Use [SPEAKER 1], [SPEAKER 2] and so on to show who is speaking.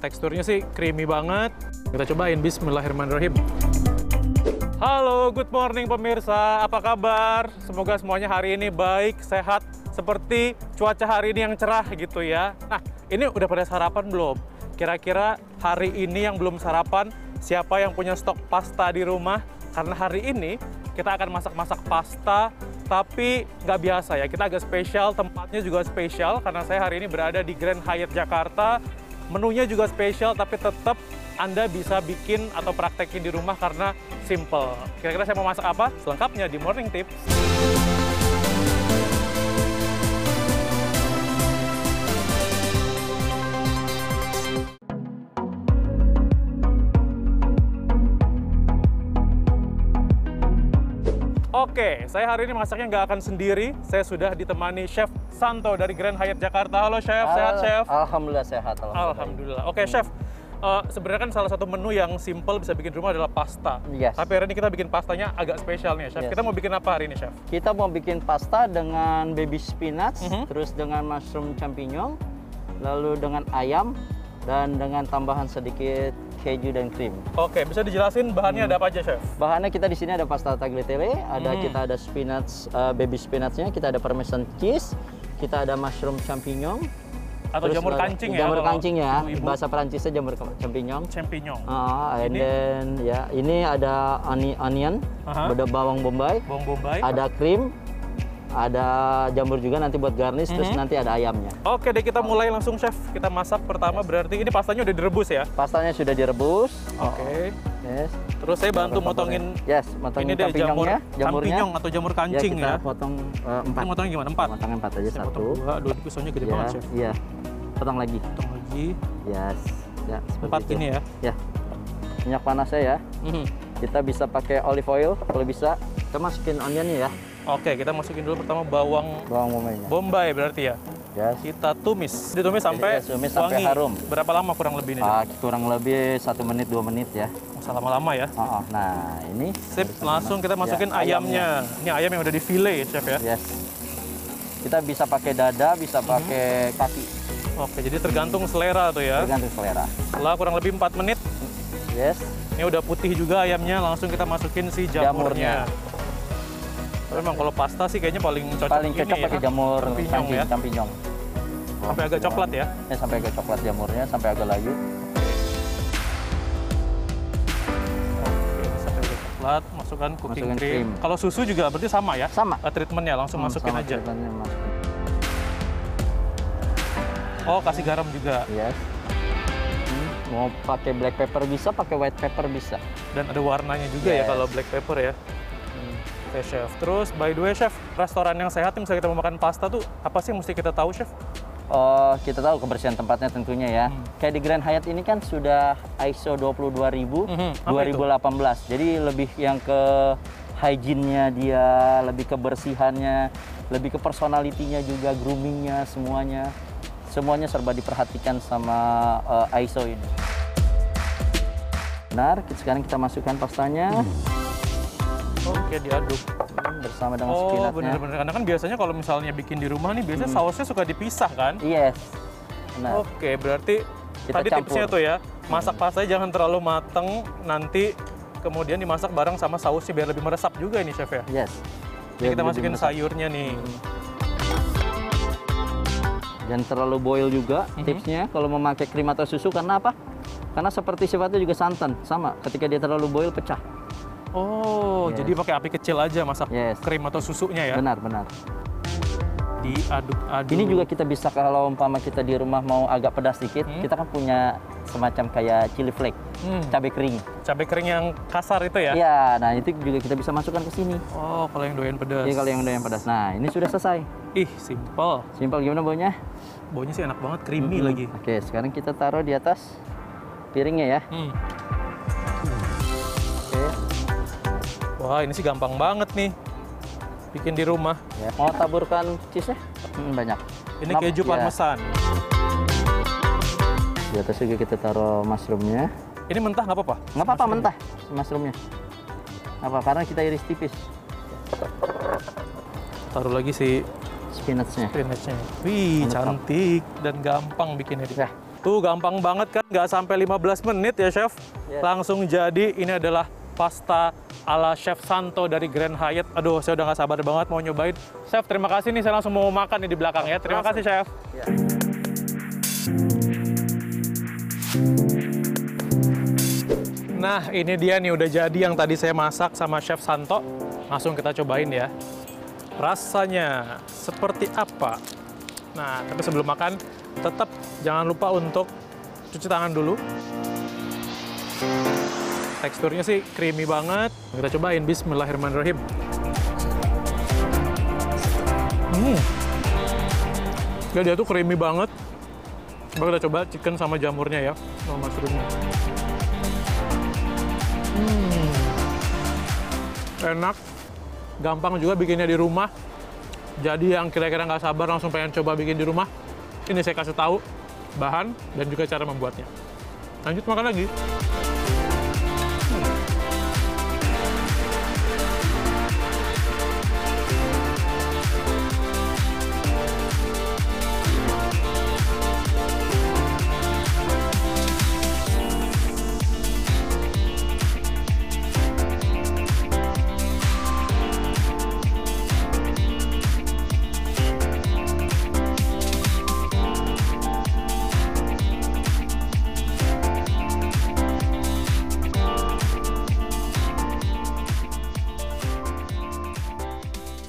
[SPEAKER 1] teksturnya sih creamy banget. Kita cobain, bismillahirrahmanirrahim. Halo, good morning pemirsa. Apa kabar? Semoga semuanya hari ini baik, sehat, seperti cuaca hari ini yang cerah gitu ya. Nah, ini udah pada sarapan belum? Kira-kira hari ini yang belum sarapan, siapa yang punya stok pasta di rumah? Karena hari ini kita akan masak-masak pasta, tapi nggak biasa ya. Kita agak spesial, tempatnya juga spesial karena saya hari ini berada di Grand Hyatt Jakarta. Menunya juga spesial, tapi tetap Anda bisa bikin atau praktekin di rumah karena simple. Kira-kira saya mau masak apa? Selengkapnya di Morning Tips. Oke, saya hari ini masaknya nggak akan sendiri. Saya sudah ditemani Chef Santo dari Grand Hyatt Jakarta. Halo Chef, sehat
[SPEAKER 2] Al-
[SPEAKER 1] Chef?
[SPEAKER 2] Alhamdulillah Hmm. sehat.
[SPEAKER 1] Alhamdulillah. Oke, Chef. eh, sebenarnya kan salah satu menu yang simple bisa bikin di rumah adalah pasta.
[SPEAKER 2] Yes.
[SPEAKER 1] Tapi hari ini kita bikin pastanya agak spesial nih, Chef.
[SPEAKER 2] Yes.
[SPEAKER 1] Kita mau bikin apa hari ini, Chef?
[SPEAKER 2] Kita mau bikin pasta dengan baby spinach,
[SPEAKER 1] Mhm.
[SPEAKER 2] terus dengan mushroom champignon, lalu dengan ayam, dan dengan tambahan sedikit keju dan krim.
[SPEAKER 1] Oke, bisa dijelasin
[SPEAKER 2] Hmm.
[SPEAKER 1] bahannya ada apa aja, Chef?
[SPEAKER 2] Bahannya kita di sini ada pasta tagliatelle, ada
[SPEAKER 1] Hmm.
[SPEAKER 2] kita ada spinach, eh, baby spinachnya, kita ada parmesan cheese, kita ada mushroom champignon,
[SPEAKER 1] Atau
[SPEAKER 2] terus
[SPEAKER 1] jamur
[SPEAKER 2] ada-
[SPEAKER 1] kancing ya?
[SPEAKER 2] jamur
[SPEAKER 1] kalau
[SPEAKER 2] kancing ya,
[SPEAKER 1] ibu-ibu.
[SPEAKER 2] bahasa Perancisnya jamur ke- champignon.
[SPEAKER 1] champignon.
[SPEAKER 2] Ah, and
[SPEAKER 1] Ini?
[SPEAKER 2] then ya ini ada oni- onion,
[SPEAKER 1] Aha.
[SPEAKER 2] ada bawang bombay,
[SPEAKER 1] Bawang bombay.
[SPEAKER 2] ada krim, ada jamur juga nanti buat garnish, terus
[SPEAKER 1] Mhm.
[SPEAKER 2] nanti ada ayamnya.
[SPEAKER 1] Oke deh, kita mulai langsung, Chef. Kita masak pertama berarti ini pastanya udah direbus ya?
[SPEAKER 2] Pastanya sudah direbus.
[SPEAKER 1] Oke.
[SPEAKER 2] Yes.
[SPEAKER 1] Terus saya bantu motongin
[SPEAKER 2] Yes, motongin
[SPEAKER 1] ini deh jamur
[SPEAKER 2] champignonnya, jamurnya.
[SPEAKER 1] champignon atau jamur kancing
[SPEAKER 2] ya,
[SPEAKER 1] ya.
[SPEAKER 2] kita potong eh, empat.
[SPEAKER 1] Ini motongnya gimana? Empat.
[SPEAKER 2] Potong empat aja
[SPEAKER 1] Saya
[SPEAKER 2] satu.
[SPEAKER 1] potong dua, dua pisaunya gede
[SPEAKER 2] Ya,
[SPEAKER 1] banget, Chef.
[SPEAKER 2] iya. Potong lagi.
[SPEAKER 1] Potong lagi.
[SPEAKER 2] Yes. Ya, seperti
[SPEAKER 1] Empat
[SPEAKER 2] itu.
[SPEAKER 1] ini ya.
[SPEAKER 2] Ya. Minyak panasnya ya.
[SPEAKER 1] Mhm.
[SPEAKER 2] Kita bisa pakai olive oil kalau bisa. Kita masukin onionnya ya,
[SPEAKER 1] Oke, kita masukin dulu pertama bawang
[SPEAKER 2] bawang bombay-nya.
[SPEAKER 1] bombay berarti ya.
[SPEAKER 2] Yes.
[SPEAKER 1] Kita tumis. Ditumis sampai
[SPEAKER 2] Iya,
[SPEAKER 1] wangi.
[SPEAKER 2] tumis sampai harum.
[SPEAKER 1] Berapa lama kurang lebih ini? Chef?
[SPEAKER 2] Ah, kurang lebih satu menit dua menit ya.
[SPEAKER 1] Nggak usah lama-lama ya.
[SPEAKER 2] Oh, oh. Nah, ini
[SPEAKER 1] Sip, langsung kita masukin
[SPEAKER 2] Ya,
[SPEAKER 1] ayamnya. Ini ayam yang udah di fillet ya, Chef ya.
[SPEAKER 2] Yes. Kita bisa pakai dada, bisa
[SPEAKER 1] Mhm.
[SPEAKER 2] pakai kaki,
[SPEAKER 1] Oke, jadi tergantung selera tuh ya.
[SPEAKER 2] tergantung selera.
[SPEAKER 1] Setelah kurang lebih 4 menit,
[SPEAKER 2] Yes.
[SPEAKER 1] ini udah putih juga ayamnya, langsung kita masukin si jamurnya.
[SPEAKER 2] Jamurnya.
[SPEAKER 1] Tapi memang kalau pasta sih kayaknya paling cocok
[SPEAKER 2] Paling
[SPEAKER 1] ini
[SPEAKER 2] cocok
[SPEAKER 1] ya.
[SPEAKER 2] pakai jamur
[SPEAKER 1] Champignon
[SPEAKER 2] kancing,
[SPEAKER 1] ya.
[SPEAKER 2] champignon.
[SPEAKER 1] Sampai agak coklat ya.
[SPEAKER 2] Ya, sampai agak coklat jamurnya, sampai agak layu.
[SPEAKER 1] Oke, sampai agak coklat, masukkan cooking
[SPEAKER 2] Masukkan
[SPEAKER 1] cream.
[SPEAKER 2] cream.
[SPEAKER 1] Kalau susu juga berarti sama ya?
[SPEAKER 2] Sama.
[SPEAKER 1] Eh, treatmentnya langsung masukin
[SPEAKER 2] Hmm, Sama
[SPEAKER 1] aja.
[SPEAKER 2] treatmentnya masukin.
[SPEAKER 1] Oh, kasih garam juga.
[SPEAKER 2] Yes. Hmm, Mau pakai black pepper bisa, pakai white pepper bisa.
[SPEAKER 1] Dan ada warnanya juga ya
[SPEAKER 2] Yes. Hmm.
[SPEAKER 1] kalau black pepper ya. Oke, Chef. Terus, by the way, Chef, restoran yang sehat, misalnya kita mau makan pasta tuh, apa sih yang mesti kita tahu, Chef?
[SPEAKER 2] Oh, kita tahu kebersihan tempatnya tentunya ya.
[SPEAKER 1] Hmm.
[SPEAKER 2] Kayak di Grand Hyatt ini kan sudah ISO 22000
[SPEAKER 1] Mhm. Apa itu?
[SPEAKER 2] 2018. Jadi lebih yang ke hygiene-nya dia, lebih kebersihannya, lebih ke personalitinya juga, grooming-nya semuanya. Semuanya serba diperhatikan sama eh, ISO ini. Benar, sekarang kita masukkan pastanya
[SPEAKER 1] Oke, diaduk.
[SPEAKER 2] bersama dengan
[SPEAKER 1] Oh,
[SPEAKER 2] spinachnya.
[SPEAKER 1] bener-bener. Karena kan biasanya kalau misalnya bikin di rumah nih, biasanya
[SPEAKER 2] Hmm.
[SPEAKER 1] sausnya suka dipisah kan?
[SPEAKER 2] Yes. Benar.
[SPEAKER 1] Oke, berarti
[SPEAKER 2] Kita
[SPEAKER 1] tadi
[SPEAKER 2] campur.
[SPEAKER 1] tipsnya tuh ya, masak pastanya jangan terlalu mateng, nanti kemudian dimasak bareng sama sausnya biar lebih meresap juga ini, Chef ya.
[SPEAKER 2] Yes.
[SPEAKER 1] Jadi kita
[SPEAKER 2] Biar
[SPEAKER 1] masukin
[SPEAKER 2] lebih Hmm.
[SPEAKER 1] sayurnya nih.
[SPEAKER 2] dan terlalu boil juga
[SPEAKER 1] Mhm.
[SPEAKER 2] tipsnya kalau memakai krim atau susu karena apa? Karena seperti sifatnya juga santan sama ketika dia terlalu boil pecah.
[SPEAKER 1] Oh,
[SPEAKER 2] Yes.
[SPEAKER 1] jadi pakai api kecil aja masak
[SPEAKER 2] Yes.
[SPEAKER 1] krim atau susunya ya. Mhm.
[SPEAKER 2] Benar benar.
[SPEAKER 1] Diaduk-aduk.
[SPEAKER 2] Ini juga kita bisa kalau umpama kita di rumah mau agak pedas dikit,
[SPEAKER 1] Hmm.
[SPEAKER 2] kita kan punya semacam kayak chili flake,
[SPEAKER 1] Hmm,
[SPEAKER 2] cabai kering.
[SPEAKER 1] cabai kering yang kasar itu ya.
[SPEAKER 2] Iya, nah itu juga kita bisa masukkan ke sini.
[SPEAKER 1] Oh, kalau yang doyan pedas.
[SPEAKER 2] Jadi Iya, kalau yang udah yang pedas. Nah, ini sudah selesai.
[SPEAKER 1] Ih, simple.
[SPEAKER 2] Simpel gimana baunya?
[SPEAKER 1] Baunya sih enak banget, creamy
[SPEAKER 2] Hmm.
[SPEAKER 1] lagi.
[SPEAKER 2] Oke, sekarang kita taruh di atas piringnya ya.
[SPEAKER 1] Hmm.
[SPEAKER 2] Oke.
[SPEAKER 1] Wah, ini sih gampang banget nih. Bikin di rumah.
[SPEAKER 2] Ya. Mau taburkan cheese-nya? Hmm, banyak.
[SPEAKER 1] Ini
[SPEAKER 2] Kenapa?
[SPEAKER 1] keju
[SPEAKER 2] Iya.
[SPEAKER 1] parmesan.
[SPEAKER 2] Di atas juga kita taruh mushroomnya.
[SPEAKER 1] Ini mentah nggak apa-apa?
[SPEAKER 2] Nggak apa-apa mentah mushroomnya. Apa? Karena kita iris tipis
[SPEAKER 1] Taruh lagi si
[SPEAKER 2] spinachnya.
[SPEAKER 1] spinachnya. Wih,
[SPEAKER 2] Mantap.
[SPEAKER 1] cantik dan gampang bikinnya.
[SPEAKER 2] Ya.
[SPEAKER 1] Tuh gampang banget kan, nggak sampai 15 menit ya chef.
[SPEAKER 2] Yes.
[SPEAKER 1] Langsung jadi, ini adalah pasta ala Chef Santo dari Grand Hyatt. Aduh, saya udah nggak sabar banget mau nyobain. Chef, terima kasih nih, saya langsung mau makan nih di belakang ya. Terima kasih, Chef.
[SPEAKER 2] Ya.
[SPEAKER 1] Nah, ini dia nih udah jadi yang tadi saya masak sama Chef Santo. Langsung kita cobain ya. Rasanya seperti apa? Nah, tapi sebelum makan, tetap jangan lupa untuk cuci tangan dulu. Teksturnya sih creamy banget. Kita cobain, bismillahirrahmanirrahim. Hmm. Ya, dia tuh creamy banget. Coba kita coba chicken sama jamurnya ya, sama mushroomnya. Hmm. enak, gampang juga bikinnya di rumah. Jadi yang kira-kira nggak sabar langsung pengen coba bikin di rumah, ini saya kasih tahu bahan dan juga cara membuatnya. Lanjut makan lagi.